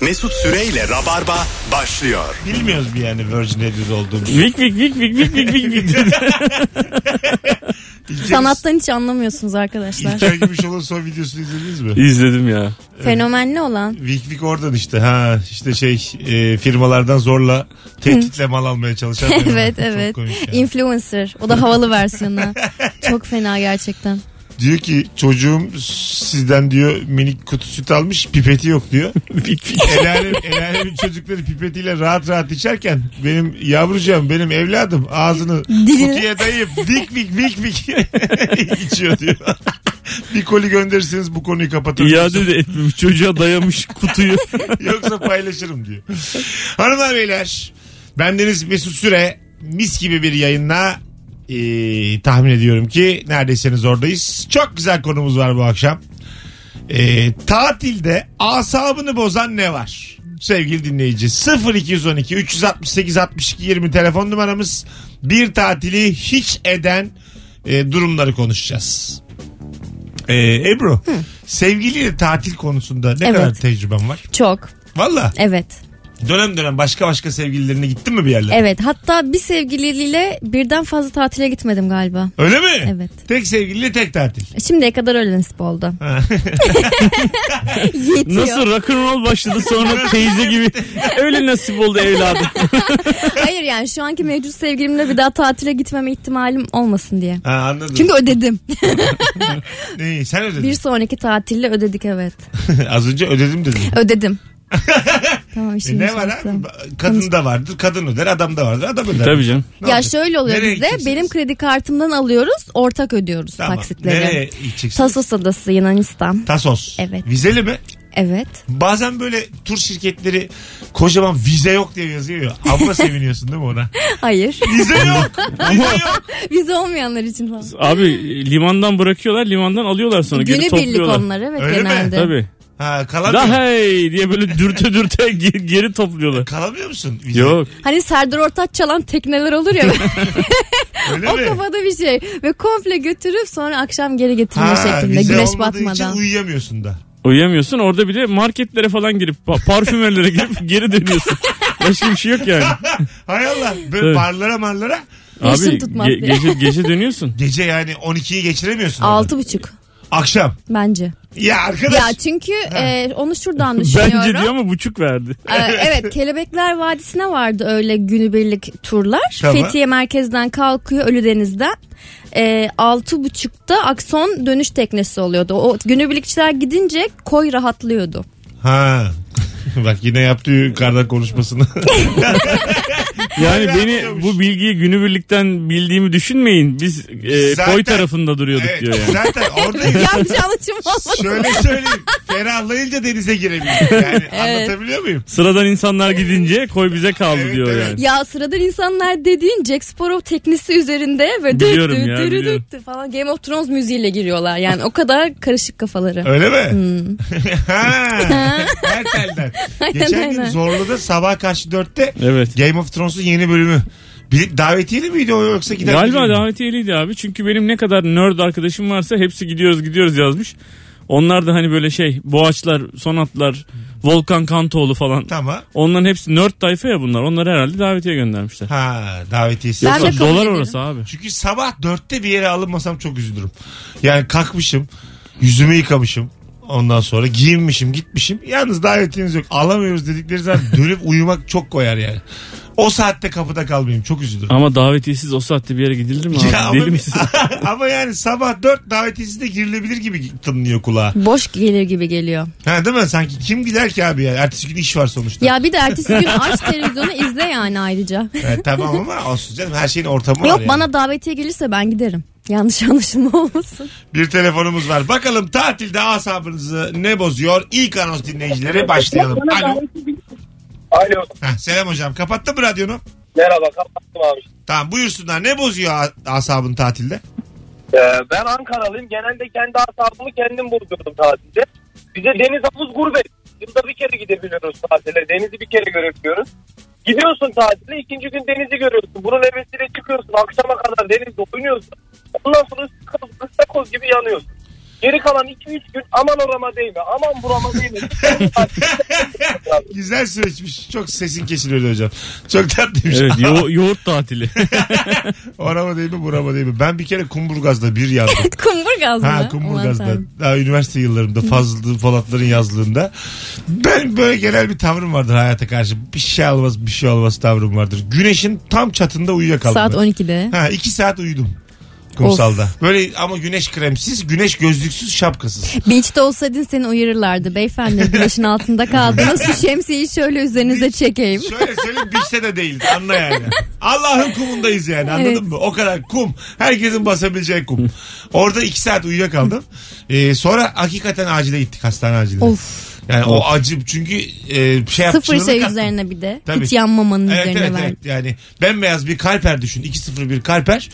Mesut Süreyle Rabarba başlıyor. Bilmiyoruz bir yani Virgin Radio'da olduğumuzu. Vik vik vik vik vik vik vik vik. Sanattan hiç anlamıyorsunuz arkadaşlar. İlker Gümüşoğlu'nun son videosunu izlediniz mi? İzledim ya. Fenomenli olan. Vik Vik oradan işte ha işte şey e, firmalardan zorla tehditle mal almaya çalışan. bir adam. evet Çok evet. komik yani. Influencer. O da havalı versiyonu. Çok fena gerçekten. Diyor ki çocuğum sizden diyor minik kutu süt almış pipeti yok diyor. Vik vik. El alemin, el alemin çocukları pipetiyle rahat rahat içerken benim yavrucağım benim evladım ağzını Dilini- kutuya dayayıp vik vik vik vik içiyor diyor. bir koli gönderirseniz bu konuyu kapatırım. İade de etmemiş. Çocuğa dayamış kutuyu. Yoksa paylaşırım diyor. Hanımlar beyler bendeniz Mesut Süre mis gibi bir yayınla eee, tahmin ediyorum ki neredeyseniz oradayız. Çok güzel konumuz var bu akşam. Eee, tatilde asabını bozan ne var? Sevgili dinleyici 0212 368 62 20 telefon numaramız bir tatili hiç eden eee, durumları konuşacağız. Eee Ebru sevgiliyle tatil konusunda ne Evet. kadar tecrüben var? Çok. Valla Evet. dönem dönem başka başka sevgililerine gittin mi bir yerlere? Evet. Hatta bir sevgiliyle birden fazla tatile gitmedim galiba. Öyle mi? Evet. E, Tek sevgiliyle tek tatil. Şimdiye kadar öyle nasip oldu. Ha. Yetiyor. Nasıl rock'n'roll başladı sonra teyze gibi. Öyle nasip oldu evladım. Hayır yani şu anki mevcut sevgilimle bir daha tatile gitmeme ihtimalim olmasın diye. Ha, anladım. Çünkü ödedim. Neyi, sen ödedin. Bir sonraki tatille ödedik evet. Az önce ödedim dedin. Ödedim. tamam E, şimdi ne var yaptım. abi? Kadın da vardır, kadın öder, adam da vardır, adam öder. Tabii canım. Ne Ya olacak? şöyle oluyor Nereye bizde. gideceksiniz? Benim kredi kartımdan alıyoruz, ortak ödüyoruz Tamam. taksitleri. Nereye gideceksiniz? Tasos adası Yunanistan. Tasos. Evet. Vizeli mi? Evet. Bazen böyle tur şirketleri kocaman vize yok diye yazıyor ya. Abla seviniyorsun değil mi ona? Hayır. Vize yok. Vize yok. Vize olmayanlar için falan. Abi limandan bırakıyorlar limandan alıyorlar sonra geri Günü birlik topluyorlar. onlar evet Öyle mi? genelde. Tabii. Ha, Da kalamıyor, hey diye böyle dürte dürte ge- geri topluyorlar. kalamıyor musun? Vize? Yok. Hani Serdar Ortaç çalan tekneler olur ya. Öyle o mi? kafada bir şey. Ve komple götürüp sonra akşam geri getirme Ha, şeklinde. vize Güneş olmadığı için batmadan. uyuyamıyorsun da. Uyuyamıyorsun orada bir de marketlere falan girip pa- parfümerlere girip geri dönüyorsun. Başka bir şey yok yani. Hay Allah. Böyle Evet. barlara marlara Yaşın Abi tutmaz ge- bile. gece, gece dönüyorsun. gece yani 12'yi geçiremiyorsun. orada. Altı buçuk Akşam. bence. Ya arkadaş. Ya çünkü e, onu şuradan düşünüyorum. Bence diyor ama buçuk verdi. Ee, evet Kelebekler Vadisi'ne vardı öyle günübirlik turlar. Tamam. Fethiye merkezden kalkıyor Ölüdeniz'den. Ee, altı buçukta Akson dönüş teknesi oluyordu. O günübirlikçiler gidince koy rahatlıyordu. Ha. Bak yine yaptığı kardan konuşmasını. Yani Öyle beni yapıyormuş. bu bilgiyi günübirlikten bildiğimi düşünmeyin. Biz e, Zaten- koy tarafında duruyorduk evet, diyor yani. Zaten oradayız. Yanlış anlaşım olmasın. Şöyle söyleyeyim. Ferahlayınca denize girebilirim. Yani anlatabiliyor muyum? Sıradan insanlar gidince koy bize kaldı Evet, diyor evet. yani. Ya sıradan insanlar dediğin Jack Sparrow teknesi üzerinde ve dü Biliyorum dü ya, dü dü biliyorum. dü falan Game of Thrones müziğiyle giriyorlar. Yani o kadar karışık kafaları. Öyle mi? Hmm. ha. Her telden. Geçen gün aynen. Zorlu'da sabah karşı 4'te Evet. Game of Thrones'un yeni bölümü. Bir davetiyeli miydi o yoksa giden Galiba biri mi? davetiyeliydi abi. Çünkü benim ne kadar nerd arkadaşım varsa hepsi gidiyoruz gidiyoruz yazmış. Onlar da hani böyle şey Boğaçlar, Sonatlar, Volkan Kantoğlu falan. Tamam. Onların hepsi nerd tayfa ya bunlar. Onları herhalde davetiye göndermişler. Ha davetiyesi. Ben de Yoksa kabul dolar ediyorum. orası abi. Çünkü sabah dörtte bir yere alınmasam çok üzülürüm. Yani kalkmışım, yüzümü yıkamışım. Ondan sonra giyinmişim, gitmişim. Yalnız davetiniz yok. Alamıyoruz dedikleri zaman dönüp uyumak çok koyar yani. O saatte kapıda kalmayayım. Çok üzülürüm. Ama davetiyesiz o saatte bir yere gidilir mi abi? Ya ama, Deli misin? ama yani sabah dört davetiyesi de girilebilir gibi tınlıyor kulağa. Boş gelir gibi geliyor. Ha değil mi? Sanki kim gider ki abi ya? Ertesi gün iş var sonuçta. Ya bir de ertesi gün aç televizyonu izle yani ayrıca. Evet, tamam ama olsun canım. Her şeyin ortamı var Yok yani. bana davetiye gelirse ben giderim. Yanlış anlaşılma olmasın. Bir telefonumuz var. Bakalım tatilde asabınızı ne bozuyor? İlk anons dinleyicileri başlayalım. Alo. Alo. Heh, selam hocam. Kapattın mı radyonu? Merhaba. Kapattım abi. Tamam buyursunlar. Ne bozuyor a- asabın tatilde? Ee, ben Ankaralıyım. Genelde kendi asabımı kendim bozuyorum tatilde. Bize deniz havuz gurbet. Yılda bir kere gidebiliyoruz tatile. Denizi bir kere görebiliyoruz. Gidiyorsun tatile ikinci gün denizi görüyorsun. Bunun hevesiyle çıkıyorsun. Akşama kadar denizde oynuyorsun. Ondan sonra ıstakoz, ıstakoz gibi yanıyorsun. Geri kalan 2-3 gün aman orama değme, aman burama değme. Güzel süreçmiş. Çok sesin kesiliyordu hocam. Çok tatlıymış. Evet yo- yoğurt tatili. Orama değil mi burama değil mi? Ben bir kere Kumburgaz'da bir yazdım. Kumburgaz mı? Ha Kumburgaz'da. Daha üniversite yıllarımda Fazlı Polatların yazlığında. Ben böyle genel bir tavrım vardır hayata karşı. Bir şey olmaz bir şey olmaz tavrım vardır. Güneşin tam çatında uyuyakaldım. Saat ben. 12'de. Ha iki saat uyudum. Kumsalda. Böyle ama güneş kremsiz, güneş gözlüksüz, şapkasız. Beach'te olsaydın seni uyarırlardı. Beyefendi güneşin altında kaldınız. Şu şemsiyeyi şöyle üzerinize çekeyim. Şöyle söyleyeyim biçte de değil. Anla yani. Allah'ın kumundayız yani anladın Evet. mı? O kadar kum. Herkesin basabileceği kum. Orada iki saat uyuyakaldım. Ee, sonra hakikaten acile gittik hastane acile. Of. Yani o acım çünkü e, şey yap- Sıfır şey çığlık attım. üzerine bir de. Tabii. Hiç yanmamanın Evet üzerine evet verdi. evet yani bembeyaz bir kalper düşün 201 kalper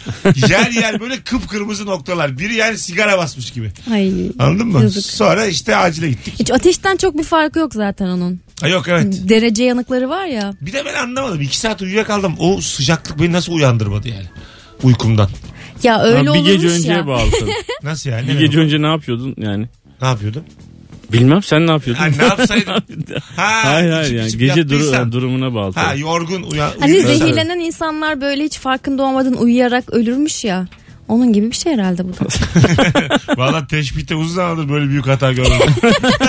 yer yer böyle kıpkırmızı noktalar biri yani sigara basmış gibi Ay. anladın mı? Yazık. Sonra işte acile gittik. Hiç ateşten çok bir farkı yok zaten onun. Ha, yok evet Derece yanıkları var ya. bir de ben anlamadım 2 saat uyuyakaldım o sıcaklık beni nasıl uyandırmadı yani uykumdan. Ya öyle bir gece olurmuş önceye ya. bağlı tabii. Nasıl yani? Bir Ne gece demek? önce ne yapıyordun yani? Ne yapıyordum? Bilmem sen ne yapıyordun? Ha, ne yapsaydım? Ha, hayır hayır içip yani içip gece duru- yaptıysam. durumuna bağlı. Ha tabii. yorgun uyan. Hani uyuyorsan. zehirlenen insanlar böyle hiç farkında olmadan uyuyarak ölürmüş ya. Onun gibi bir şey herhalde bu da. Valla teşbihte uzun zamandır böyle büyük hata görmedim.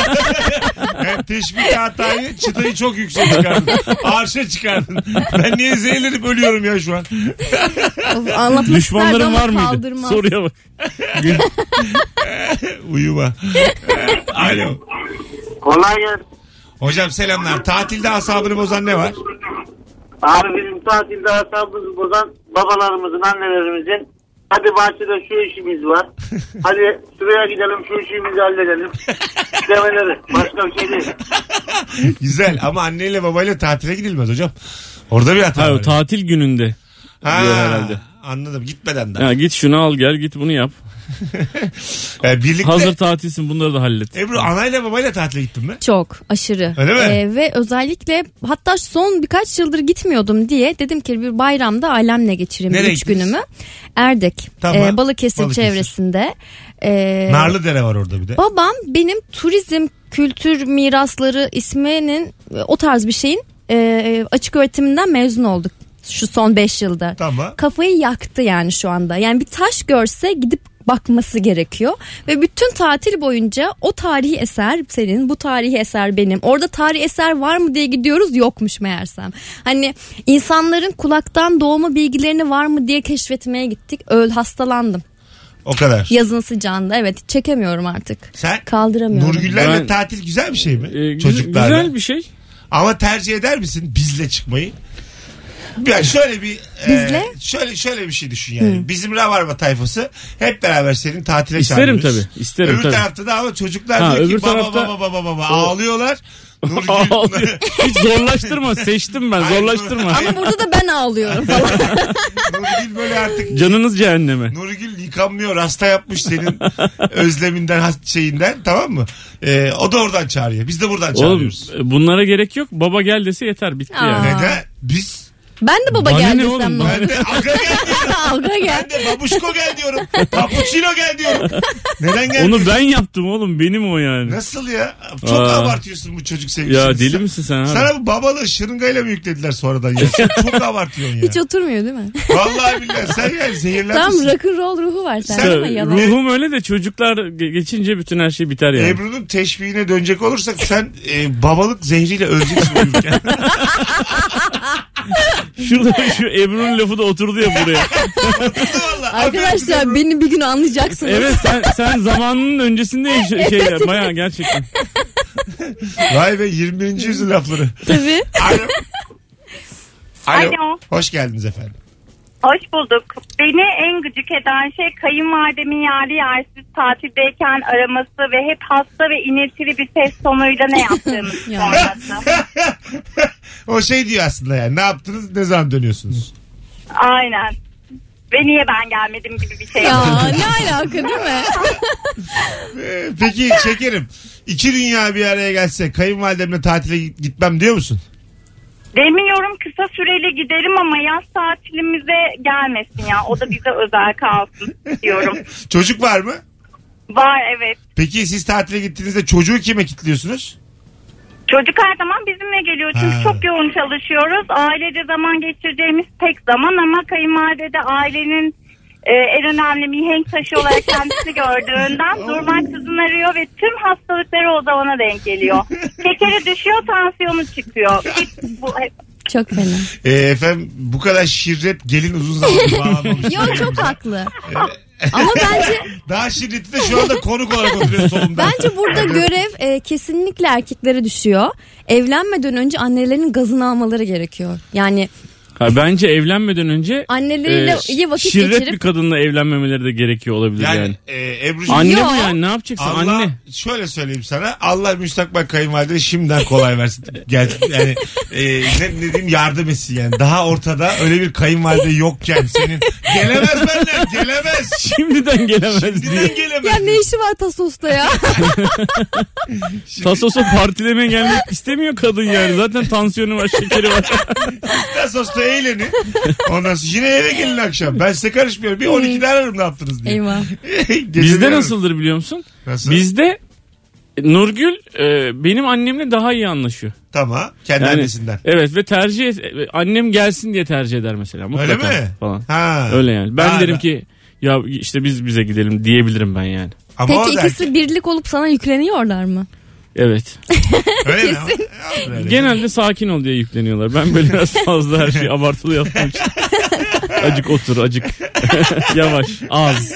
yani teşbihte hatayı çıtayı çok yüksek çıkardın. Arşa çıkardın. Ben niye zehirlenip ölüyorum ya şu an? Of, Anlatmak isterdi Düşmanların ama var mıydı? kaldırmaz. Soruya bak. Uyuma. Alo. Kolay gelsin. Hocam selamlar. Tatilde asabını bozan ne var? Abi bizim tatilde asabımızı bozan babalarımızın, annelerimizin hadi bahçede şu işimiz var. Hadi şuraya gidelim şu işimizi halledelim. Demeleri. Başka bir şey değil. Güzel ama anneyle babayla tatile gidilmez hocam. Orada bir hata Hayır o var. tatil gününde. Ha, diyor herhalde. Anladım gitmeden de. Ya git şunu al gel git bunu yap. Ee, birlikte Hazır tatilsin bunları da hallet. Ebru anayla babayla tatile gittin mi? Çok aşırı. Ee, Öyle mi? ve özellikle hatta son birkaç yıldır gitmiyordum diye dedim ki bir bayramda ailemle geçireyim Nereye üç gittiniz? günümü. Erdek. Tamam. Ee, Balıkesir, Balıkesir. çevresinde. Ee, Narlıdere var orada bir de. Babam benim turizm kültür mirasları isminin o tarz bir şeyin e, açık öğretiminden mezun olduk şu son 5 yılda. Tamam. Kafayı yaktı yani şu anda. Yani bir taş görse gidip bakması gerekiyor ve bütün tatil boyunca o tarihi eser senin bu tarihi eser benim orada tarihi eser var mı diye gidiyoruz yokmuş meğersem hani insanların kulaktan doğma bilgilerini var mı diye keşfetmeye gittik öl hastalandım O kadar. yazın sıcağında evet çekemiyorum artık Sen Kaldıramıyorum. Nurgüllerle Ben- tatil güzel bir şey mi? Ee, güz- Çocuklarla. Güzel bir şey. Ama tercih eder misin bizle çıkmayı? Ya şöyle bir e, Bizle? şöyle şöyle bir şey düşün yani. Bizim Ravarva tayfası hep beraber senin tatile İsterim çağırıyoruz. tabii, isterim öbür tabii. tarafta da ama çocuklar Ha, diyor ki öbür baba tarafta- baba baba baba ağlıyorlar. Nurgül Ağlıyor. Hiç zorlaştırma seçtim ben Hayır, zorlaştırma. Ama burada da ben ağlıyorum falan. Nurgül böyle artık Canınız cehenneme. Nurgül yıkanmıyor hasta yapmış senin özleminden has- şeyinden tamam mı? E, o da oradan çağırıyor. Biz de buradan Oğlum çağırıyoruz. e, bunlara gerek yok. Baba gel dese yeter bitti Aa. yani. Neden? Biz Ben de baba Bana gel ne desem oğlum, ne bana olur. Ben de aga gel diyorum. Alga gel. Ben de babuşko gel diyorum. Papuçino gel diyorum. Neden gel? Onu ben yaptım oğlum benim o yani. Nasıl ya? Çok Aa. abartıyorsun bu çocuk sevgisini. Ya deli şey? Sen- misin sen abi? Sana bu babalığı şırıngayla mı yüklediler sonradan? Ya? Sen çok abartıyorsun ya. Hiç oturmuyor değil mi? Vallahi billahi sen yani Tam zehirlenmişsin. rock'n'roll ruhu var sende Sen- ama Ya, yalan. Ruhum öyle de çocuklar ge- geçince bütün her şey biter yani. Ebru'nun teşbihine dönecek olursak sen e, babalık zehriyle öleceksin uyurken. Şurada şu Ebru'nun lafı da oturdu ya buraya. Vallahi. Aferin Arkadaşlar Ebru. beni bir gün anlayacaksınız. evet sen, sen zamanının öncesinde yaş- şeyler bayağı gerçekten. Vay be 21. yüzyıl lafları. Tabii. Alo. Alo. Alo. Hoş geldiniz efendim. Hoş bulduk. Beni en gıcık eden şey kayınvalidemin yerli yersiz tatildeyken araması ve hep hasta ve iniltili bir ses tonuyla ne yaptığımı Ya. sorması. o şey diyor aslında yani ne yaptınız ne zaman dönüyorsunuz? Aynen. Ve niye ben gelmedim gibi bir şey. Ya ne alaka değil mi? Ee, Peki şekerim. İki dünya bir araya gelse kayınvalidemle tatile git- gitmem diyor musun? Demiyorum kısa süreli giderim ama yaz tatilimize gelmesin ya. O da bize özel kalsın diyorum. Çocuk var mı? Var evet. Peki siz tatile gittiğinizde çocuğu kime kilitliyorsunuz? Çocuk her zaman bizimle geliyor çünkü Ha. çok yoğun çalışıyoruz. Ailece zaman geçireceğimiz tek zaman ama kayınvalide de ailenin e, en önemli mihenk taşı olarak kendisi gördüğünden durmaksızın arıyor ve tüm hastalıkları o zamana denk geliyor. Şekeri düşüyor, tansiyonu çıkıyor. Hiç bu, Çok fena. Ee, efendim bu kadar şirret gelin uzun zamandır bağlamamış. Yo çok haklı. Ama bence Daha şiddeti de şu anda konuk olarak oturuyor solumda. bence burada görev e, kesinlikle erkeklere düşüyor. Evlenmeden önce annelerinin gazını almaları gerekiyor. Yani Ha, bence evlenmeden önce anneleriyle e, iyi vakit şirret geçirip bir kadınla evlenmemeleri de gerekiyor olabilir yani. Yani e, Ebru'cum Anne Yo. bu yani ne yapacaksın Allah anne? şöyle söyleyeyim sana. Allah müstakbel kayınvalidene şimdiden kolay versin. Gel, yani e, ne, ne diyeyim yardım etsin yani. Daha ortada öyle bir kayınvalide yokken senin gelemez benden gelemez. Şimdiden gelemez diye. Şimdiden gelemez. ya ne işi var Tasos'ta ya? Tasos'a partileme gelmek istemiyor kadın yani. Zaten tansiyonu var, şekeri var. Tasos'ta eğlenin. Ondan sonra yine eve gelin akşam. Ben size karışmıyorum. Bir 12'de ararım ne yaptınız diye. Eyvah. Geceleri Bizde ararım. nasıldır biliyor musun? Nasıl? Bizde Nurgül e, benim annemle daha iyi anlaşıyor. Tamam. Kendi Yani, annesinden. Evet ve tercih et- e, annem gelsin diye tercih eder mesela. Öyle Mutlaka mi? Falan. Ha. Öyle yani. Ben Ha, derim ben- ki ya işte biz bize gidelim diyebilirim ben yani. Ama Peki o da ikisi birlik olup sana yükleniyorlar mı? Evet. öyle mi? Olur öyle. Genelde sakin ol diye yükleniyorlar. Ben böyle biraz fazla her şeyi abartılı yaptığım için. Acık otur acık. Yavaş az.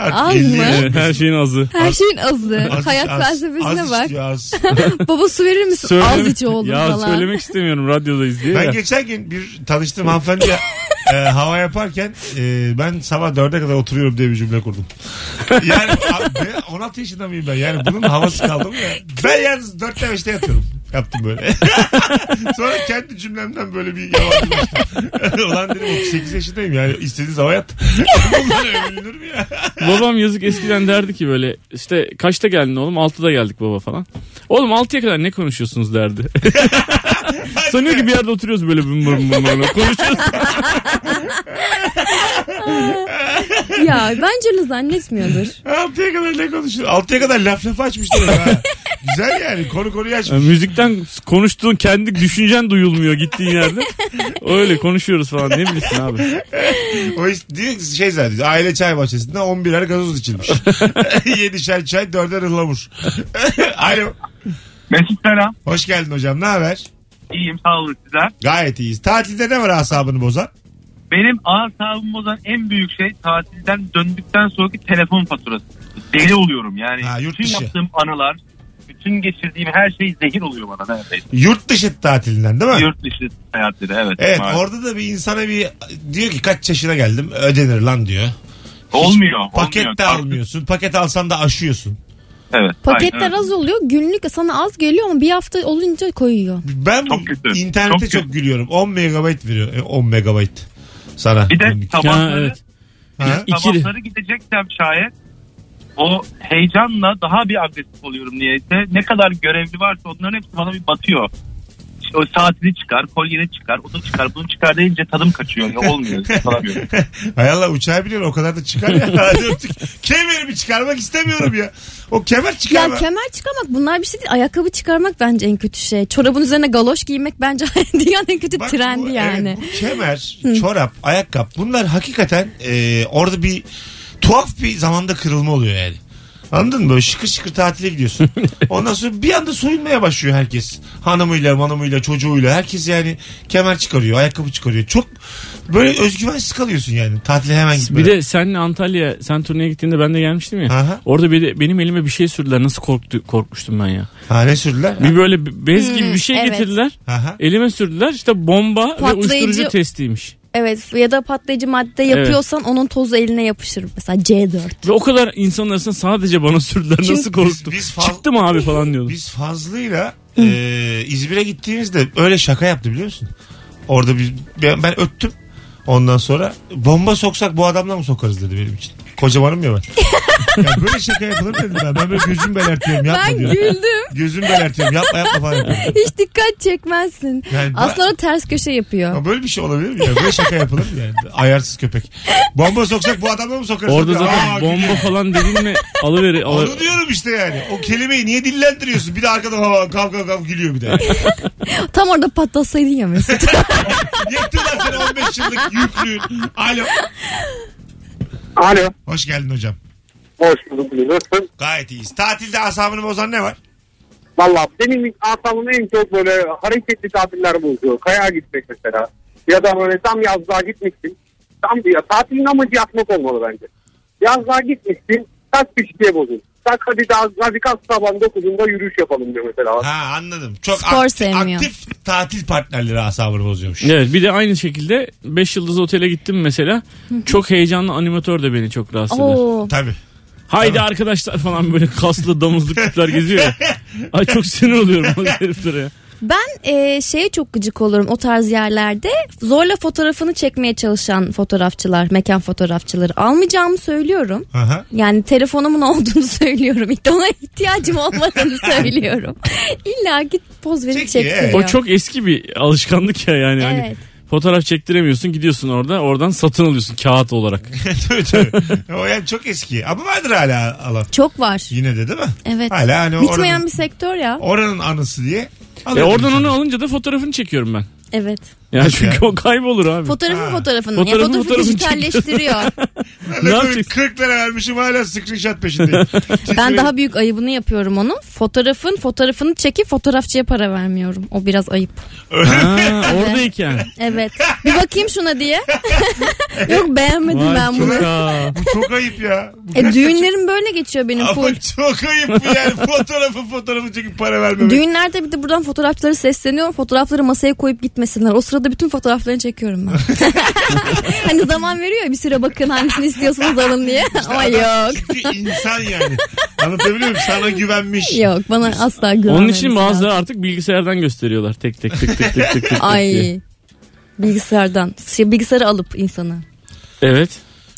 Artık Az elli- mı? Evet, her şeyin azı. Her şeyin azı. Az- Hayat az- felsefesine az bak. istiyor, az. Baba su verir misin? Az Söyleme- iç oğlum ya falan. söylemek istemiyorum radyodayız diye. Ben ya. geçen gün bir tanıştığım hanımefendiyle e, hava yaparken e, ben sabah dörde kadar oturuyorum diye bir cümle kurdum. Yani a- ben 16 yaşında mıyım ben? Yani bunun havası kaldı mı ya? Ben yalnız dörtte beşte yatıyorum. Yaptım böyle. Sonra kendi cümlemden böyle bir yabancılaştım. Ulan dedim 38 yaşındayım yani istediğiniz hava yat. Bunlar övülür mü ya? Babam yazık eskiden derdi ki böyle işte kaçta geldin oğlum 6'da geldik baba falan. Oğlum 6'ya kadar ne konuşuyorsunuz derdi. Sanıyor ki bir yerde oturuyoruz böyle bum bum bum bum. konuşuyoruz. Ya bence zannetmiyordur. Altıya kadar ne konuşuyor? Altıya kadar laf lafı açmışlar. Ha. Güzel yani konu konuyu açmış. Yani müzikten konuştuğun kendi düşüncen duyulmuyor gittiğin yerde. Öyle konuşuyoruz falan ne bilirsin abi. O is- diyor ki şey zaten aile çay bahçesinde 11'er gazoz içilmiş. 7'şer çay 4'er ıhlamur. Alo. Mesut selam. Hoş geldin hocam ne haber? İyiyim sağ olun sizler. Gayet iyiyiz. Tatilde ne var asabını bozan? Benim asabımı bozan en büyük şey tatilden döndükten sonraki telefon faturası. Deli oluyorum yani. Ha, yurt bütün dışı. yaptığım anılar, bütün geçirdiğim her şey zehir oluyor bana neredeyse. Yurt dışı tatilinden değil mi? Yurt dışı seyahatleri evet. Evet maalesef. orada da bir insana bir diyor ki kaç yaşına geldim ödenir lan diyor. olmuyor. olmuyor. Paket de almıyorsun. Paket alsan da aşıyorsun. Evet. aynen Paketler öyle. az oluyor. Günlük sana az geliyor ama bir hafta olunca koyuyor. Ben Çok bu kötü. internette Çok çok, gülüyorum. 10 megabayt veriyor. E, 10 megabayt sana. Bir de günlük. sabahları, Ha, evet. Ha? İkili. sabahları gideceksem şayet o heyecanla daha bir agresif oluyorum niyeyse. Ne kadar görevli varsa onların hepsi bana bir batıyor. İşte o saatini çıkar, kolyeni çıkar, o da çıkar, bunu çıkar deyince tadım kaçıyor. Ya olmuyor. yapamıyorum. Hay Allah uçağa biniyor o kadar da çıkar ya. Hadi öptük. Kemerimi çıkarmak istemiyorum ya. O kemer Ya çıkarma. kemer çıkarmak bunlar bir şey değil. Ayakkabı çıkarmak bence en kötü şey. Çorabın üzerine galoş giymek bence dünyanın en kötü Bak trendi bu- evet, yani. bu kemer, çorap, ayakkabı bunlar hakikaten e, orada bir tuhaf bir zamanda kırılma oluyor yani. Anladın mı? Böyle şıkır şıkır tatile gidiyorsun. Ondan sonra bir anda soyunmaya başlıyor herkes. Hanımıyla, manamıyla, çocuğuyla. Herkes yani kemer çıkarıyor, ayakkabı çıkarıyor. Çok böyle özgüvensiz kalıyorsun yani. Tatile hemen gitmeden. Bir de senle Antalya sen turneye gittiğinde ben de gelmiştim ya. Aha. Orada bir de benim elime bir şey sürdüler. Nasıl korktu, korkmuştum ben ya. Ha ne sürdüler? Bir böyle bir bez gibi bir şey Hmm, evet. getirdiler. Aha. Elime sürdüler. İşte bomba ve Patlayıcı- uyuşturucu testiymiş. Evet ya da patlayıcı madde yapıyorsan onun tozu eline yapışır. Mesela C4. Ve o kadar insanın arasında sadece bana sürdüler. Nasıl Biz- korktum. biz fal- Çıktım abi falan diyordum. Biz Fazlı'yla e, İzmir'e gittiğimizde öyle şaka yaptı biliyor musun? Orada bir, ben, ben öttüm. Ondan sonra bomba soksak bu adamla mı sokarız dedi benim için. Kocamanım ya ben. ya böyle şaka yapılır mı dedim ben. Ben böyle gözüm belertiyorum yapma Ben diyorum. güldüm. Gözüm belertiyorum yapma yapma falan yapıyorum. Hiç dikkat çekmezsin. Yani ben- Aslında o ters köşe yapıyor. Ama böyle bir şey olabilir mi ya? Böyle şaka yapılır mı yani? Ayarsız köpek. Bomba soksak bu adamla mı sokarız? Orada Aa, zaten gülüyor. bomba falan dedin mi alıveri. alı- Onu diyorum işte yani. O kelimeyi niye dillendiriyorsun? Bir de arkada hava kav kav kav gülüyor bir de. Tam orada patlatsaydın ya Mesut. Yettin lan seni 15 yıllık yüklüğün. Alo. Alo. Hoş geldin hocam. Hoş bulduk. Nasılsın? Gayet iyiyiz. Tatilde asabını bozan ne var? Valla benim asabımı en çok böyle hareketli tatiller bozuyor. Kayağa gitmek mesela. Ya da böyle tam yazlığa gitmişsin. Tam bir tatilin amacı yatmak olmalı bence. Yazlığa gitmişsin. Kaç kişiye bozulur. Tak hadi daha radikal sabahın 9'unda yürüyüş yapalım diyor mesela. Ha anladım. Çok Spor aktif, sevmiyor. aktif tatil partnerleri asabını bozuyormuş. Evet bir de aynı şekilde 5 yıldız otele gittim mesela. Çok heyecanlı animatör de beni çok rahatsız eder. Oo. Tabii. Haydi arkadaşlar falan böyle kaslı damızlı tipler geziyor ya. Ay çok sinir oluyorum o heriflere ya. Ben e, şeye çok gıcık olurum o tarz yerlerde. Zorla fotoğrafını çekmeye çalışan fotoğrafçılar, mekan fotoğrafçıları almayacağımı söylüyorum. Aha. Yani telefonumun olduğunu söylüyorum. İlk ona ihtiyacım olmadığını söylüyorum. İlla git poz verip Çekiyor, evet. çektiriyor. O çok eski bir alışkanlık ya yani. Hani Evet. fotoğraf çektiremiyorsun gidiyorsun orada oradan satın alıyorsun kağıt olarak. tabii tabii. O yani çok eski. Ama vardır hala alan. Çok var. Yine de değil mi? Evet. Hala hani Bitmeyen oranın, bir sektör ya. oranın anısı diye. e alıyorum oradan sana. onu alınca da fotoğrafını çekiyorum ben. Evet. Yani Nasıl çünkü ya? o kaybolur abi. Fotoğrafın Ha. fotoğrafını. Fotoğrafın ya, fotoğrafı fotoğrafını dijitalleştiriyor. Ben Ne böyle yapacaksın? 40 lira vermişim hala screenshot peşindeyim. ben daha büyük ayıbını yapıyorum onun. Fotoğrafın fotoğrafını çekip fotoğrafçıya para vermiyorum. O biraz ayıp. Ha, oradayken. Evet. Bir bakayım şuna diye. Yok beğenmedim Vay, ben çok bunu. ha. Bu çok ayıp ya. Bu E, kaç- düğünlerim böyle geçiyor benim full. Ama çok ayıp bu yani. Fotoğrafı fotoğrafı çekip para vermemek. Düğünlerde bir de buradan fotoğrafçılara sesleniyorum. Fotoğrafları masaya koyup gitmesinler. O sırada bütün fotoğraflarını çekiyorum ben. hani zaman veriyor ya bir süre bakın hangisini istiyorsanız alın diye. Ama yok. Çünkü insan yani. Anlatabiliyor muyum? Sana güvenmiş. Yok bana asla güvenmemesi Onun için bazıları lazım. artık bilgisayardan gösteriyorlar tek tek tek tek tek tek. tek, tek diye. Ay. Bilgisayardan. Şey, bilgisayarı alıp insanı. Evet.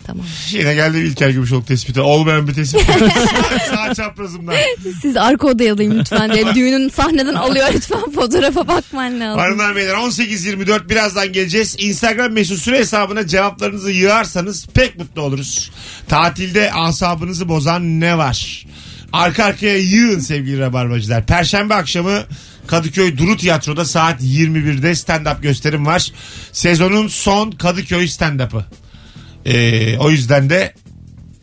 Tamam. Yine geldi İlker Gümüşoluk tespiti. Olmayan bir tespit. Sağ- Sağ çaprazımdan. Siz arka odaya alayım lütfen diye. Düğünün sahneden alıyor lütfen fotoğrafa bakman lazım. Hanımlar beyler 18.24 birazdan geleceğiz. Instagram mesut süre hesabına cevaplarınızı yığarsanız pek mutlu oluruz. Tatilde asabınızı bozan ne var? Arka arkaya yığın sevgili rabarbacılar. Perşembe akşamı Kadıköy Duru Tiyatro'da saat 21'de stand-up gösterim var. Sezonun son Kadıköy stand-up'ı. Ee, o yüzden de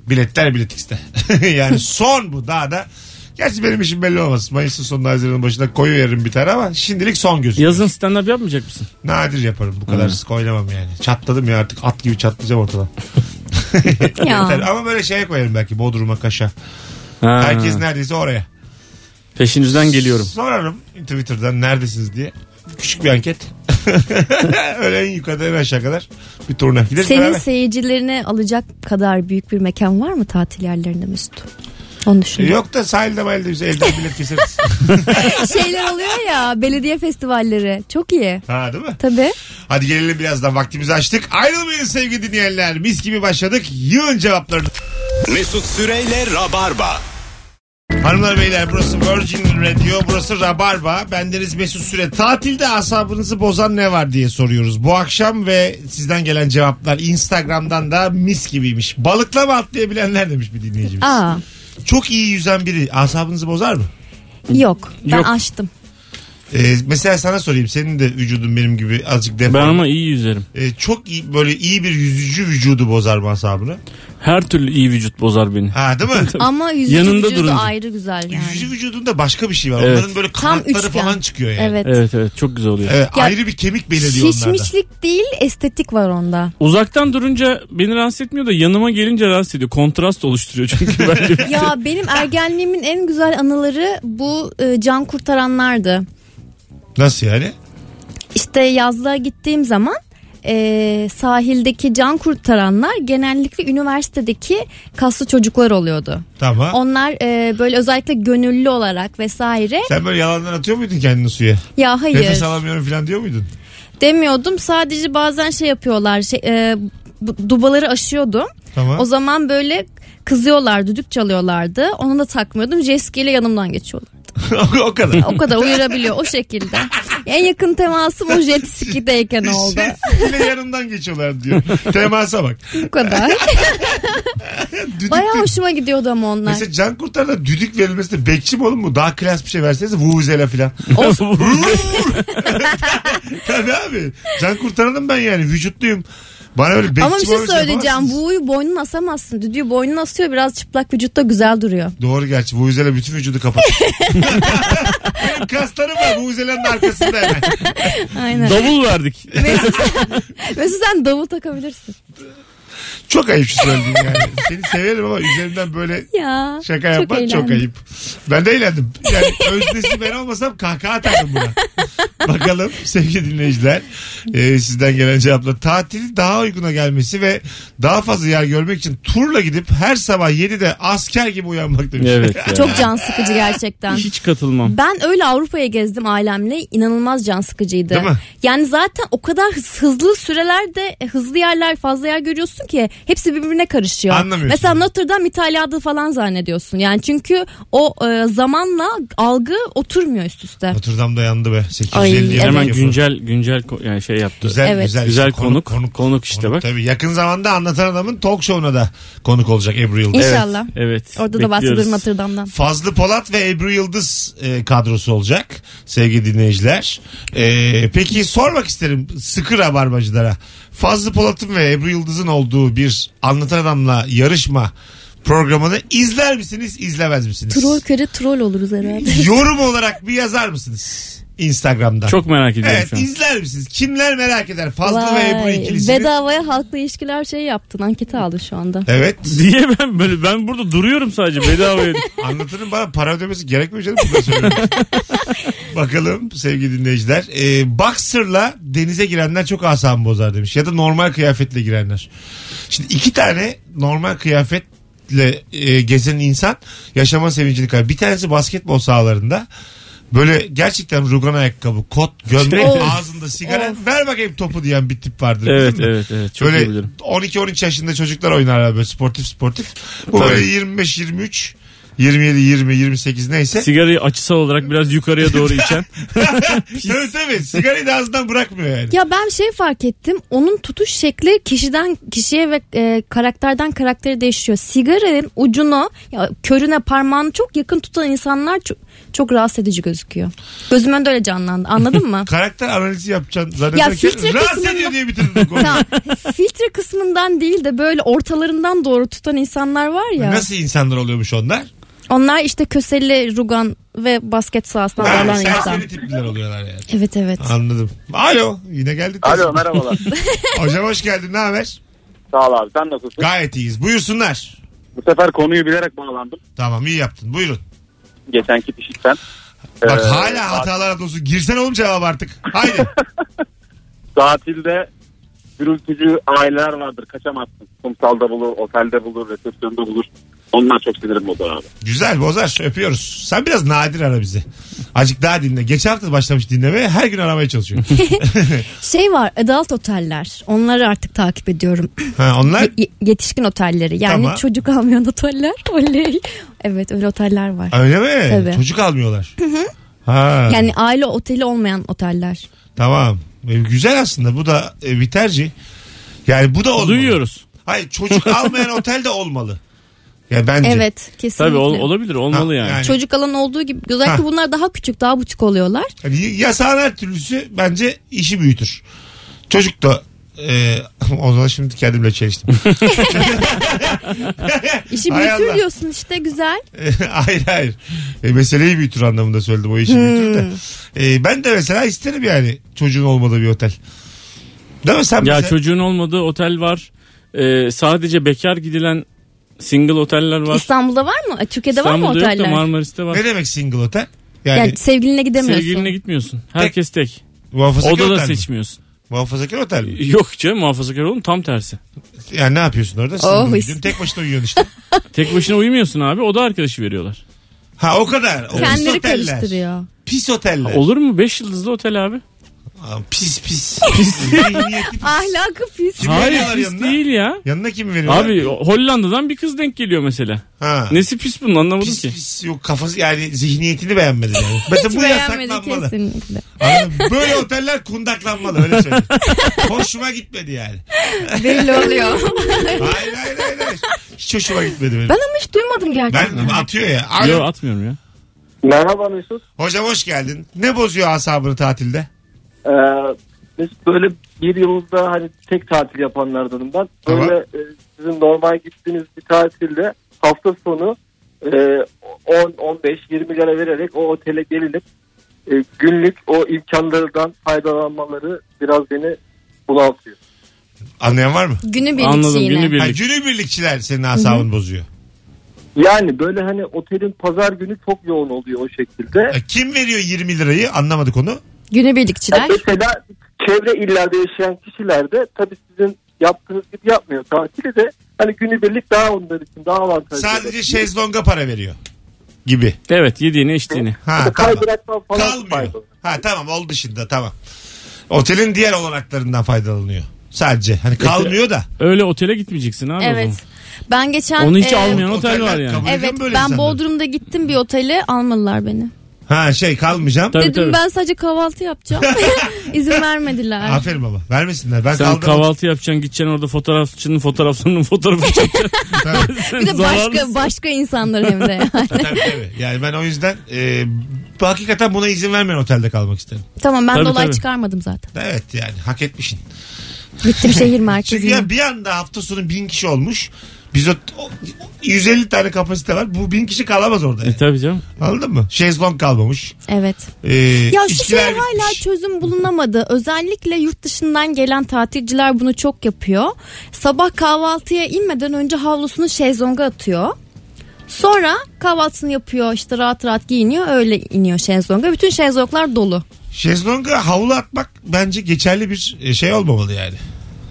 biletler biletikste. yani son bu daha da. Gerçi benim işim belli olmaz. Mayıs'ın sonunda Haziran'ın başında koyu veririm bir tane ama şimdilik son gözüküyor. Yazın stand-up yapmayacak mısın? Nadir yaparım. Bu kadar sık oynamam yani. Çatladım ya artık at gibi çatlayacağım ortadan. Yeter. Ama böyle şeye koyarım belki Bodrum'a Kaş'a. Ha. Herkes neredeyse oraya. Peşinizden geliyorum. Sorarım Twitter'dan neredesiniz diye. Küçük bir anket. Öyle en yukarıda en aşağı kadar bir turuna gideriz. Senin beraber. seyircilerini alacak kadar büyük bir mekan var mı tatil yerlerinde Mesut? Onu düşün. Yok da sahilde mahallede biz elden bilet keseriz. Şeyler oluyor ya belediye festivalleri. Çok iyi. ha değil mi? Tabii. Hadi gelelim birazdan vaktimizi açtık. Ayrılmayın sevgili dinleyenler. Mis gibi başladık. Yığın cevaplarını. Mesut Süreyle Rabarba. Hanımlar beyler burası Virgin Radio burası Rabarba. Bendeniz Mesut Süre. Tatilde asabınızı bozan ne var diye soruyoruz. Bu akşam ve sizden gelen cevaplar Instagram'dan da mis gibiymiş. Balıklama atlayabilenler demiş bir dinleyicimiz. Aa, Çok iyi yüzen biri asabınızı bozar mı? yok. Ben Yok. açtım. Ee, mesela sana sorayım. Senin de vücudun benim gibi azıcık Ben deform. ama iyi yüzerim. Ee, çok iyi böyle iyi bir yüzücü vücudu bozar mı asabını? Her türlü iyi vücut bozar beni. Ha değil mi? Ama yüzücü Yanında vücudu durunca. ayrı güzel Yüzücü yani. vücudunda başka bir şey var. Evet. Onların böyle Tam kanatları üçgen. falan çıkıyor yani. Evet. Evet evet çok güzel oluyor. Evet, Ya- ayrı bir kemik belirliyor onlarda. Şişmişlik değil estetik var onda. Uzaktan durunca beni rahatsız etmiyor da yanıma gelince rahatsız ediyor. Kontrast oluşturuyor çünkü bence. Ya benim ergenliğimin en güzel anıları bu e, can kurtaranlardı. Nasıl yani? İşte yazlığa gittiğim zaman e, sahildeki can kurtaranlar genellikle üniversitedeki kaslı çocuklar oluyordu. Tamam. Onlar e, böyle özellikle gönüllü olarak vesaire. Sen böyle yalanlar atıyor muydun kendini suya? Ya hayır Nefes alamıyorum falan diyor muydun? demiyordum. Sadece bazen şey yapıyorlar. Şey, e, bu- dubaları aşıyordum. Tamam. O zaman böyle kızıyorlar, düdük çalıyorlardı. Onu da takmıyordum. Jeskiyle yanımdan geçiyorlar. o kadar. O kadar uyarabiliyor o şekilde. En yakın temasım o jet ski'deyken oldu. Sesiyle yanından geçiyorlar diyor. Temasa bak. Bu kadar. Düdük Bayağı de- hoşuma gidiyordu ama onlar. Mesela can kurtarda düdük verilmesi de bekçi mi oğlum bu? Daha klas bir şey verseniz vuvuzela filan. Tabii abi. Can kurtaranım ben yani. Vücutluyum. Bana böyle bekçi Ama bir şey muamelesi söyleyeceğim. yapamazsınız. Buğuyu boynuna asamazsın. Düdüğü boynuna asıyor. Biraz çıplak vücutta güzel duruyor. Doğru gerçi. Vuvuzela bütün vücudu kapatır. Benim kaslarım var. Vuvuzela'nın arkasında hemen. Aynen. Davul verdik. Mesela sen davul takabilirsin. Çok ayıp şu söylediğin yani. Seni severim ama üzerimden böyle Ya. Şaka yapmak çok, eğlendim. ayıp. Ben de eğlendim. Yani öznesi ben olmasam kahkaha atardım buna. Bakalım sevgili dinleyiciler e, sizden gelen cevapla. Tatili daha uyguna gelmesi ve daha fazla yer görmek için turla gidip her sabah 7'de asker gibi uyanmak demiş. Evet ya. Çok can sıkıcı gerçekten. Hiç katılmam. Ben öyle Avrupa'ya gezdim ailemle. inanılmaz can sıkıcıydı. Değil mi? Yani zaten o kadar hız- hızlı sürelerde e, hızlı yerler fazla yer görüyorsun ki hepsi birbirine karışıyor. Anlamıyorsun. Mesela Notre Dame İtalya'da falan zannediyorsun. Yani çünkü o e, zamanla algı oturmuyor üst üste. Oturdam da yandı be. 850 Ay, yemek Hemen yapıyor. güncel güncel ko- yani şey yaptı. Güzel, Evet. güzel, Güzel konuk. Konuk işte bak. Tabii yakın zamanda anlatan adamın talk show'una da konuk olacak Ebru Yıldız. İnşallah. Evet. Orada da bekliyoruz. bahsediyorum Notre Dame'dan. Fazlı Polat ve Ebru Yıldız e, kadrosu olacak sevgili dinleyiciler. E, peki sormak isterim sıkı rabarbacılara. Fazlı Polat'ın ve Ebru Yıldız'ın olduğu bir anlatan adamla yarışma programını izler misiniz izlemez misiniz? Troll köre troll oluruz herhalde. Yorum olarak bir yazar mısınız Instagram'dan? Çok merak ediyorum Evet şu an. izler misiniz? Kimler merak eder? Fazlı ve Ebru Vay, ikilisini. Bedavaya halkla ilişkiler şey yaptın. Anketi aldın şu anda. Evet. Diye ben böyle ben burada duruyorum sadece bedavaya. Anlatırım bana para ödemesi gerekmiyor canım. Bunu da söylüyorum. Bakalım sevgili dinleyiciler. Ee, boxer'la denize girenler çok asabımı bozar demiş. Ya da normal kıyafetle girenler. Şimdi iki tane normal kıyafetle e, gezen insan yaşama sevincini kaybediyor. Bir tanesi basketbol sahalarında. Böyle gerçekten rugan ayakkabı, kot, gömlek, Of. ağzında sigara. Ver bakayım topu diyen bir tip vardır. evet bildin mi? evet evet çok iyi böyle bilirim. 12-13 yaşında çocuklar oynarlar böyle sportif sportif. Bu Tabii. böyle 25-23, 27-20-28 neyse. Sigarayı açısal olarak biraz yukarıya doğru içen. tabii tabii sigarayı da ağzından bırakmıyor yani. Ya ben şey fark ettim. Onun tutuş şekli kişiden kişiye ve e, karakterden karaktere değişiyor. Sigaranın ucunu, ya, körüne parmağını çok yakın tutan insanlar çok, çok rahatsız edici gözüküyor. Gözüm önünde öyle canlandı. Anladın mı? Karakter analizi yapacaksın Ya zannederken filtre rahatsız kısmında- ediyor diye bitirdim konuyu. tamam. Filtre kısmından değil de böyle ortalarından doğru tutan insanlar var ya. Nasıl insanlar oluyormuş onlar? Onlar işte köseli, rugan ve basket sahasına Ha, bağlanan insan. serseri tipliler oluyorlar yani. Evet evet. Anladım. Alo yine geldik. Alo merhabalar. Hocam hoş geldin ne haber? Sağ ol abi sen nasılsın? Gayet iyiyiz buyursunlar. Bu sefer konuyu bilerek bağlandım. Tamam iyi yaptın buyurun. Geçenki pişikten. Bak Ee, hala saat- hatalar olsun. Girsen oğlum cevap artık. Haydi. Tatilde gürültücü aileler vardır kaçamazsın. Kumsalda bulur, otelde bulur, resepsiyonda bulur. Ondan çok sinirim bozar abi. Güzel bozar öpüyoruz. Sen biraz nadir ara bizi. Azıcık daha dinle. Geçen hafta başlamış dinlemeye her gün aramaya çalışıyor. Şey var adult oteller. Onları artık takip ediyorum. ha, onlar Ye- yetişkin otelleri. Yani Tamam. çocuk almayan oteller. Oley. Evet öyle oteller var. öyle mi? Tabii. Çocuk almıyorlar. ha, Yani aile oteli olmayan oteller. Tamam. E, Güzel aslında bu da e, bir tercih. Yani bu da olmalı. Duyuyoruz. Hayır çocuk almayan otel de olmalı. Ya bence. Evet kesinlikle. Tabii ol- olabilir olmalı Ha, yani. yani. Çocuk alan olduğu gibi özellikle Hani- Ha. bunlar daha küçük daha buçuk oluyorlar. Yani yasağın her türlüsü bence işi büyütür. Çocuk da e, o zaman şimdi kendimle çeliştim. İşi Hay Allah. büyütür diyorsun işte güzel. E, hayır hayır. E, meseleyi büyütür anlamında söyledim. O işi Hmm. büyütür de. E, ben de mesela isterim yani çocuğun olmadığı bir otel. Değil mi sen Ya mesela? çocuğun olmadığı otel var. Ee, sadece bekar gidilen single oteller var. İstanbul'da var mı? Türkiye'de var mı İstanbul'da yok da oteller? Marmaris'te var. Ne demek single otel? Yani, yani, sevgiline gidemiyorsun. Sevgiline gitmiyorsun. Herkes tek. muhafazakar Odada otel mi? seçmiyorsun. Muhafazakar otel mi? Yok canım muhafazakar oğlum tam tersi. Yani ne yapıyorsun orada? Single Oh, gidiyorsun, tek başına uyuyorsun işte. Tek başına uyumuyorsun abi oda arkadaşı veriyorlar. Ha o kadar. O pis Kendileri oteller. karıştırıyor. Pis oteller. Olur mu? 5 yıldızlı otel abi. Aa, pis pis. Pis. Zihniyeti pis. Ahlakı pis. Kim Hayır veriyorlar pis yanına? değil ya. Yanına kim veriyorlar? Abi Hollanda'dan bir kız denk geliyor mesela. Ha. Nesi pis bunun anlamadım Pis ki. pis yok kafası yani zihniyetini beğenmedi. Yani. Mesela Hiç bu beğenmedi yasaklanmalı. kesinlikle. Anladın mı? Böyle oteller kundaklanmalı öyle söyleyeyim. hoşuma gitmedi yani. Belli oluyor. Hayır hayır hayır. hayır. Hiç hoşuma gitmedi benim. ben ama hiç duymadım gerçekten. Ben atıyor ya. Alo. Yo atmıyorum ya. Merhaba Mesut. Hocam hoş geldin. Ne bozuyor asabını tatilde? Ee, biz böyle bir yılda hani tek tatil yapanlardanım ben. Tamam. Böyle e, sizin normal gittiğiniz bir tatilde hafta sonu e, 10, 15, 20 lira vererek o otele gelinip e, günlük o imkanlardan faydalanmaları biraz beni bunaltıyor. Anlayan var mı? Günü Anladım günü Ha, birlik. günübirlikçiler senin asabını bozuyor. Yani böyle hani otelin pazar günü çok yoğun oluyor o şekilde. Ya kim veriyor 20 lirayı anlamadık onu. Günü birlikçiler. Mesela çevre illerde yaşayan kişiler de tabii sizin yaptığınız gibi yapmıyor tatili de. Hani günübirlik daha onlar için daha avantajlı. Sadece şey- şezlonga para veriyor gibi. Evet yediğini içtiğini. Ha, tamam. Kaydıraktan falan Kalmıyor. Ha tamam ol dışında tamam. Otelin diğer olanaklarından faydalanıyor. Sadece hani kalmıyor da. Öyle otele gitmeyeceksin abi o Evet. zaman. Ben geçen... Onu hiç e, almayan otel oteller var yani. kabul- Öyle Evet mi böyle ben insanlar? Bodrum'da gittim bir otele almalılar beni. Ha şey kalmayacağım. Tabii Dedim tabii. ben sadece kahvaltı yapacağım. İzin vermediler. Aferin baba. Vermesinler. Ben Sen kaldım. kahvaltı yapacaksın gideceksin orada fotoğrafçının fotoğrafçının fotoğrafı çekeceksin. Tabii, Sen Bir de başka zararlısın. başka insanlar hem de yani. tabii, tabii. Yani ben o yüzden e, bu- hakikaten buna izin vermeyen otelde kalmak isterim. tamam ben Tabii, dolayı tabii. çıkarmadım zaten. Evet yani hak etmişsin. Gittim şehir Çünkü merkezine. ya bir anda hafta sonu bin kişi olmuş. Biz o, o- 150 tane kapasite var. Bu bin kişi kalamaz orada. yani. E tabii canım. Anladın mı? Şezlong kalmamış. Evet. Ee, Ya şu şey içkiler hala bitmiş. çözüm bulunamadı. Özellikle yurt dışından gelen tatilciler bunu çok yapıyor. Sabah kahvaltıya inmeden önce havlusunu şezlonga atıyor. Sonra kahvaltısını yapıyor işte rahat rahat giyiniyor öyle iniyor şezlonga. Bütün şezlonglar dolu. Şezlong'a havlu atmak bence geçerli bir e, şey olmamalı yani.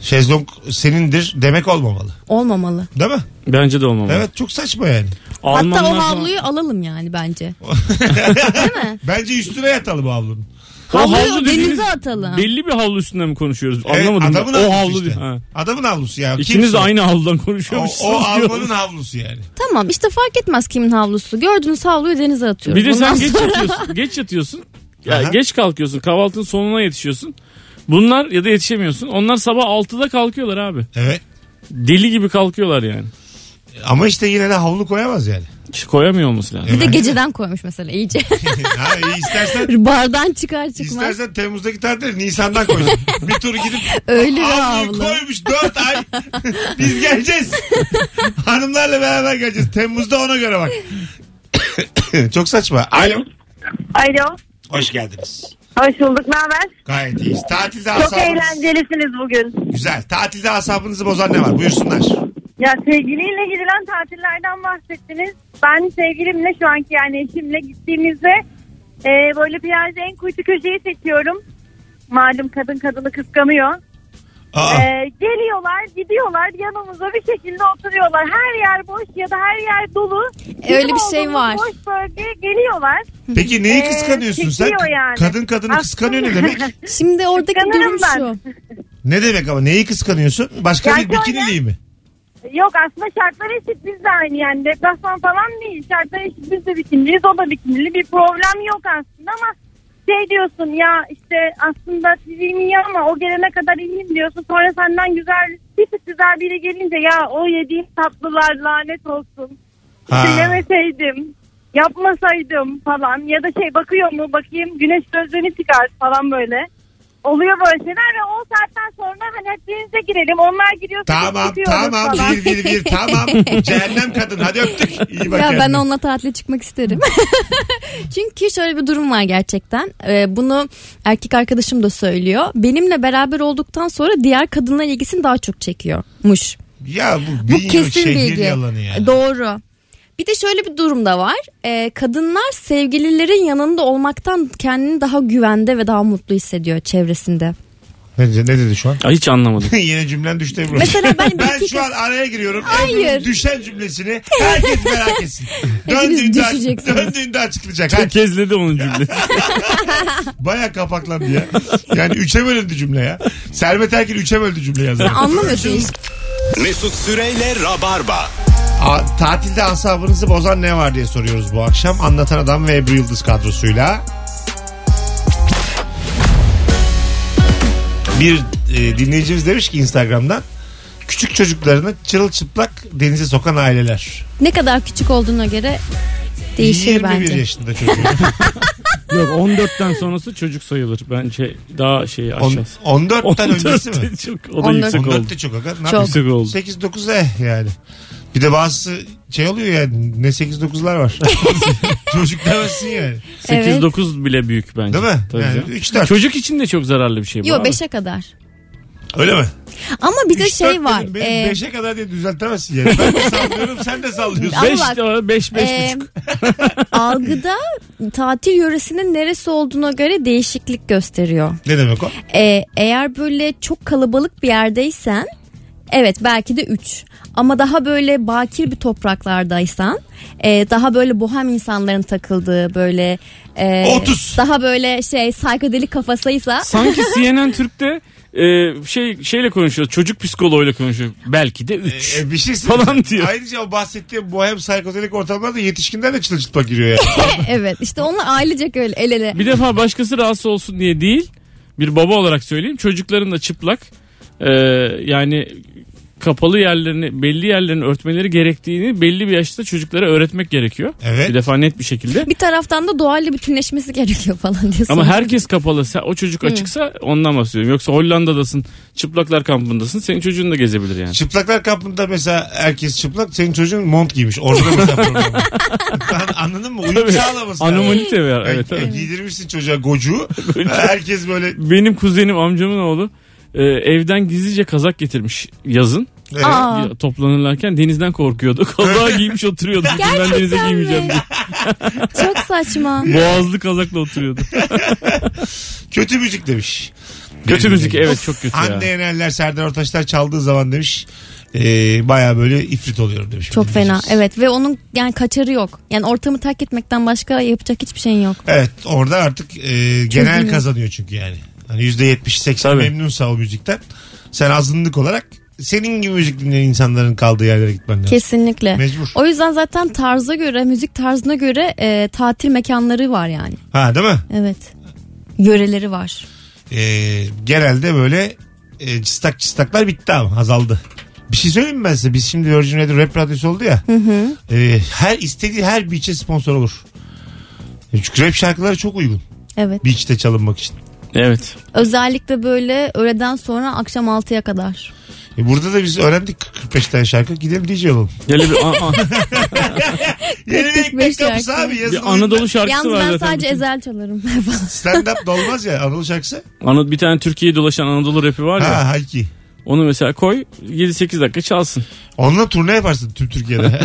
Şezlong senindir demek olmamalı. Olmamalı. Değil mi? Bence de olmamalı. Evet çok saçma yani. Hatta Almanlar o falan- havluyu alalım yani bence. Bence üstüne yatalım bu havlunun. O Havluyu dediğiniz denize atalım. Belli bir havlu üstünden mi konuşuyoruz? Evet, Anlamadım. ben. adamın o havlusu havlu işte. değil. Ha. Adamın havlusu ya. İkiniz de Kimse- aynı havludan O, konuşuyormuşsunuz. o diyorum. Alman'ın havlusu yani. Tamam işte fark etmez kimin havlusu. Gördüğünüz havluyu denize atıyoruz. Bir de sen Ondan geç sonra- yatıyorsun. Geç yatıyorsun. Ya Aha. geç kalkıyorsun. Kahvaltının sonuna yetişiyorsun. Bunlar ya da yetişemiyorsun. Onlar sabah 6'da kalkıyorlar abi. Evet. Deli gibi kalkıyorlar yani. Ama işte yine de havlu koyamaz yani. Hiç koyamıyor olması lazım. Bir de geceden koymuş mesela iyice. ha, iyi istersen Bardan çıkar çıkmaz. istersen Temmuz'daki tatilde Nisan'dan koysun. bir tur gidip Öyle bir havluyu havlu. koymuş 4 ay. Biz geleceğiz. Hanımlarla beraber geleceğiz. Temmuz'da ona göre bak. Çok saçma. Alo. Alo. Hoş geldiniz. Hoş bulduk. Ne haber? Gayet iyiyiz. Tatilde Çok asabınız. eğlencelisiniz bugün. Güzel. Tatilde asabınızı bozan ne var? Buyursunlar. Ya sevgiliyle gidilen tatillerden bahsettiniz. Ben sevgilimle şu anki yani eşimle gittiğimizde e, böyle plajda en kuytu köşeyi seçiyorum. Malum kadın kadını kıskanıyor. Aa, E, geliyorlar, gidiyorlar yanımıza bir şekilde oturuyorlar. Her yer boş ya da her yer dolu. Bizim öyle bir şey olduğumuz var. Boş bölgeye geliyorlar. peki neyi Ee, kıskanıyorsun sen? çekiyor yani. Kadın kadını Aslında- kıskanıyor ne demek? Şimdi oradaki Kıskanırım durum ben. şu. Ne demek ama neyi kıskanıyorsun? Başka Yani bir bikiniliği mi? Yok aslında şartlar eşit biz de aynı yani deplasman falan değil şartlar eşit biz de bikinliyiz o da bikinli bir problem yok aslında ama şey diyorsun ya işte aslında fiziğim iyi ama o gelene kadar iyiyim diyorsun sonra senden güzel bir güzel biri gelince ya o yediğim tatlılar lanet olsun Ha. işte yemeseydim yapmasaydım falan ya da şey bakıyor mu bakayım güneş gözlerini çıkar falan böyle. Oluyor böyle şeyler ve o saatten sonra hani hepimize girelim. Onlar giriyorsa biz Tamam çıkıyoruz tamam falan. bir bir bir tamam. Cehennem kadın hadi öptük. İyi bak Ya ben kendine. onunla tatile çıkmak isterim. Çünkü şöyle bir durum var gerçekten. Ee, bunu erkek arkadaşım da söylüyor. Benimle beraber olduktan sonra diğer kadınlar ilgisini daha çok çekiyormuş. Ya bu, Bu bilgi, kesin şehir bilgi. yalanı yani. Doğru. Bir de şöyle bir durum da var. Ee, kadınlar sevgililerin yanında olmaktan kendini daha güvende ve daha mutlu hissediyor çevresinde. Ne dedi, ne dedi şu an? Ay, hiç anlamadım. Yine cümlen düştü Ebru. Mesela ben bir Ben dakika- şu an araya giriyorum. Hayır. Ebru'nun düşen cümlesini herkes merak etsin. Hepiniz döndüğünde, düşeceksiniz. döndüğünde açıklayacak. Hadi. Tökezledi onun cümlesi. Baya kapaklandı ya. Yani üçe bölündü cümle ya. Servet Erkin üçe böldü cümle yazdı. Sen anlamıyorsun. Mesut Süreyle Rabarba. A- tatilde asabınızı bozan ne var diye soruyoruz bu akşam. Anlatan Adam ve Ebru Yıldız kadrosuyla. Bir e, dinleyicimiz demiş ki Instagram'dan küçük çocuklarını çırılçıplak denize sokan aileler. Ne kadar küçük olduğuna göre değişir 21 bence. yaşında çocuğu. Yok 14'ten sonrası çocuk sayılır. Bence daha şey On- aşağısı. 14'ten öncesi mi? 14'te çok, o da 14. yüksek 14 oldu. de çok aga. Ne Çok. yapayım? Yüksek oldu. 8-9 eh yani. Bir de bazısı şey oluyor yani ne 8-9'lar var. Çocuk demezsin yani. 8 Evet. 9 bile büyük bence. Değil mi? Tabii yani canım. 3-4 Çocuk için de çok zararlı bir şey bu. Yok abi. 5'e kadar. öyle mi? Ama bir de Üç, dört şey var. dedim, Benim e, 5'e kadar diye düzeltemezsin yani. Ben de sallıyorum sen de sallıyorsun. Ama Beş bak, de- beş, beş e, buçuk. algıda tatil yöresinin neresi olduğuna göre değişiklik gösteriyor. ne demek o? E, eğer böyle çok kalabalık bir yerdeysen evet belki de 3. Ama daha böyle bakir bir topraklardaysan e, daha böyle bohem insanların takıldığı böyle e, Otuz. daha böyle şey psychedelic kafasıysa Sanki CNN Türk'te e, şey şeyle konuşuyor. Çocuk psikoloğuyla konuşuyor. Belki de 3. E, bir şey Falan söyleyeceğim. diyor. Ayrıca o bahsettiğim bohem psikotelik ortamlarda yetişkinler de çıtlaçıtlak giriyor yani. e, evet işte onlar ailecek öyle el ele. bir defa başkası rahatsız olsun diye değil. Bir baba olarak söyleyeyim. Çocukların da çıplak. e, yani kapalı yerlerini belli yerlerini örtmeleri gerektiğini belli bir yaşta çocuklara öğretmek gerekiyor. Evet. Bir defa net bir şekilde. Bir taraftan da doğayla bütünleşmesi gerekiyor falan diyorsun. Ama herkes kapalı. Sen- o çocuk açıksa ondan bahsediyorum. Yoksa Hollanda'dasın, çıplaklar kampındasın. Senin çocuğun da gezebilir yani. Çıplaklar kampında mesela herkes çıplak. Senin çocuğun mont giymiş. Orada da mesela problem var. Lan Anladın mı? Uyum Tabii. sağlaması lazım. Anomalite var. Yani Evet, evet. Giydirmişsin çocuğa gocuğu. herkes böyle Benim kuzenim amcamın oğlu e, evden gizlice kazak getirmiş yazın. Evet. Aa. Ya, Toplanırlarken denizden korkuyordu. Kazağı giymiş oturuyordu. Çünkü ben denize Gerçekten giymeyeceğim mi? diye. Çok saçma. Boğazlı kazakla oturuyordu. kötü müzik demiş. kötü Benim müzik dediğim. evet çok kötü Hande ya. Yenerler Serdar Ortaçlar çaldığı zaman demiş. E, Baya böyle ifrit oluyorum demiş. Çok fena. Dinleyeceğiz. Evet ve onun yani kaçarı yok. Yani ortamı terk etmekten başka yapacak hiçbir şeyin yok. Evet orada artık e, genel Çözülüyor. kazanıyor çünkü yani. Hani %70-80 Tabii. memnunsa o müzikten. Sen azınlık olarak senin gibi müzik dinleyen insanların kaldığı yerlere gitmen lazım. Kesinlikle. Mecbur. O yüzden zaten tarza göre, müzik tarzına göre e, tatil mekanları var yani. Ha değil mi? Evet. Yöreleri var. E, genelde böyle e, çıstak çıstaklar bitti ama azaldı. Bir şey söyleyeyim mi ben size? Biz şimdi Virgin Radio Rap Radyosu oldu ya. E, her istediği her beach'e sponsor olur. E, Çünkü rap şarkıları çok uygun. Evet. Beach'te çalınmak için. Evet. Özellikle böyle öğleden sonra akşam 6'ya kadar. E, burada da biz öğrendik 45 tane şarkı. Gidelim DJ olalım. Böyle bir, a- a- Yeni bir 45 ekmek kapısı şarkı. abi. Yazın bir Anadolu şarkısı Yalnız var ben zaten. sadece Bütün- ezel çalarım falan. Stand up da olmaz ya Anadolu şarkısı. Ana- bir tane Türkiye'yi dolaşan Anadolu rapi var ya. Ha hayki. Onu mesela koy 7-8 dakika çalsın. Onunla turne yaparsın tüm Türkiye'de.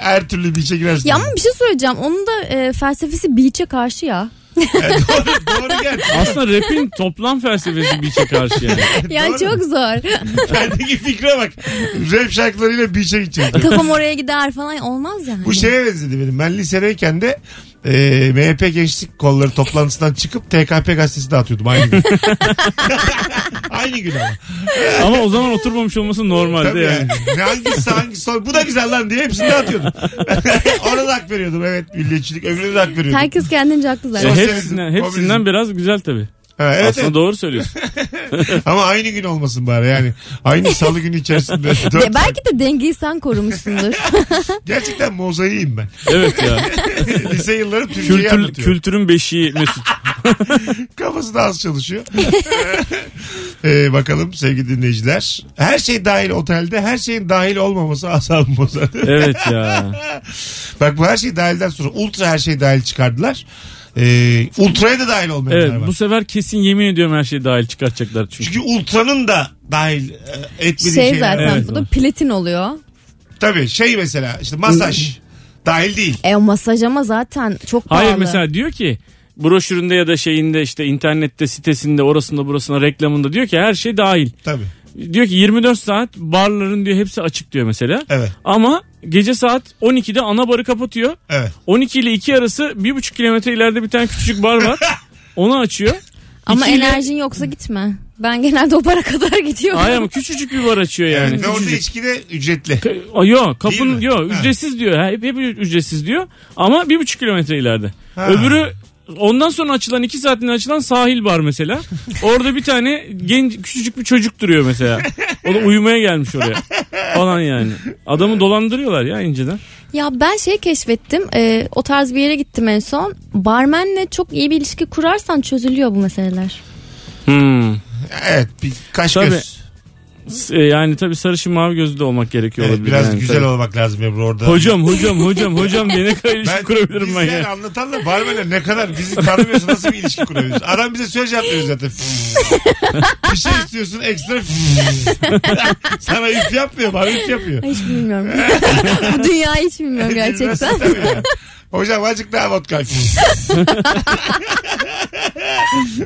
Her türlü bir işe girersin. ya ama bir şey söyleyeceğim. Onun da e, felsefesi beach'e karşı ya. Yani doğru, doğru gel. Aslında rapin toplam felsefesi bir şey karşı yani. Yani Doğru. çok zor. Kendiki fikre bak. Rap şarkılarıyla bir işe gidecek. Kafam oraya gider falan olmaz yani. Bu şey şeye benzedi benim. Ben lisedeyken de e, MHP gençlik kolları toplantısından çıkıp TKP gazetesi dağıtıyordum aynı gün. aynı gün ama. Ama o zaman oturmamış olması normalde Tabii yani. yani. Ne hangisi hangisi sol- bu da güzel lan diye hepsini dağıtıyordum. Ona da hak veriyordum evet milliyetçilik öbürüne de hak veriyordum. Herkes kendince haklı zaten. E, Sosyalizm, hepsinden, komünizm. hepsinden biraz güzel tabii. Ha, evet, Aslında evet. doğru söylüyorsun. Ama aynı gün olmasın bari yani. Aynı salı günü içerisinde. Ya Dört... Şey, belki de dengeyi sen korumuşsundur. Gerçekten mozaiğim ben. Evet ya. Lise yılları Türkiye'yi Kültür, anlatıyor. kültürün beşiği Mesut. Kafası da az çalışıyor. Ee, bakalım sevgili dinleyiciler. Her şey dahil otelde her şeyin dahil olmaması asabım bozar. Evet ya. Bak bu her şey dahilden sonra ultra her şey dahil çıkardılar. Ee, ultraya da dahil olmayanlar Evet var. bu sefer kesin yemin ediyorum her şeyi dahil çıkartacaklar çünkü. Çünkü ultranın da dahil e, etmediği şey şeyler zaten var. Evet. bu da platin oluyor. Tabii şey mesela işte masaj dahil değil. E o masaj ama zaten çok pahalı. Hayır mesela diyor ki broşüründe ya da şeyinde işte internette sitesinde orasında burasına reklamında diyor ki her şey dahil. Tabii. Diyor ki 24 saat barların diyor hepsi açık diyor mesela. Evet. Ama gece saat 12'de ana barı kapatıyor. Evet. 12 ile 2 arası 1,5 kilometre ileride bir tane küçücük bar var. Onu açıyor. Ama İkiyle- enerjin yoksa gitme. Ben genelde o bara kadar gidiyorum. Ay ama küçücük bir bar açıyor yani. Ve orada Küçücük. içki de ücretli. Ka- Aa, Yok Değil kapın mi? yok Ha. ücretsiz diyor. Ha, Hep, hep ücretsiz diyor. Ama bir buçuk kilometre ileride. Ha. Öbürü ondan sonra açılan iki saatinde açılan sahil bar mesela. Orada bir tane genç küçücük bir çocuk duruyor mesela. O da uyumaya gelmiş oraya. Falan yani. Adamı dolandırıyorlar ya inceden. Ya ben şey keşfettim. e, o tarz bir yere gittim en son. Barmenle çok iyi bir ilişki kurarsan çözülüyor bu meseleler. Hmm. Evet. Bir kaş Tabii. göz. S- e, Yani tabii sarışın mavi gözlü de olmak gerekiyor Evet, olabilir. biraz yani, güzel tabii. olmak lazım Ebru orada. Hocam hocam hocam hocam diye ne kadar ilişki şey kurabilirim ben bizler ya. anlatanla barmenle ne kadar bizi tanımıyorsa nasıl bir ilişki kurabiliriz? Adam bize söz yapmıyor zaten. bir şey istiyorsun ekstra. Sana üf yapmıyor bana üf yapıyor. Hiç bilmiyorum. bu dünyayı hiç bilmiyorum gerçekten. Bilmezsin tabii ya. Hocam azıcık daha vodka.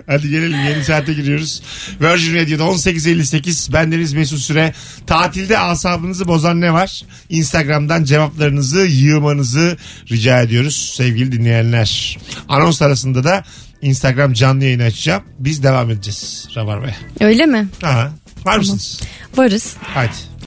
Hadi gelelim yeni saate giriyoruz. Virgin Radio'da 18.58 bendeniz Mesut Süre. Tatilde asabınızı bozan ne var? Instagram'dan cevaplarınızı yığmanızı rica ediyoruz sevgili dinleyenler. Anons arasında da Instagram canlı yayını açacağım. Biz devam edeceğiz Rabarba'ya. Öyle mi? Aha. Var mısınız? Varız. Hadi.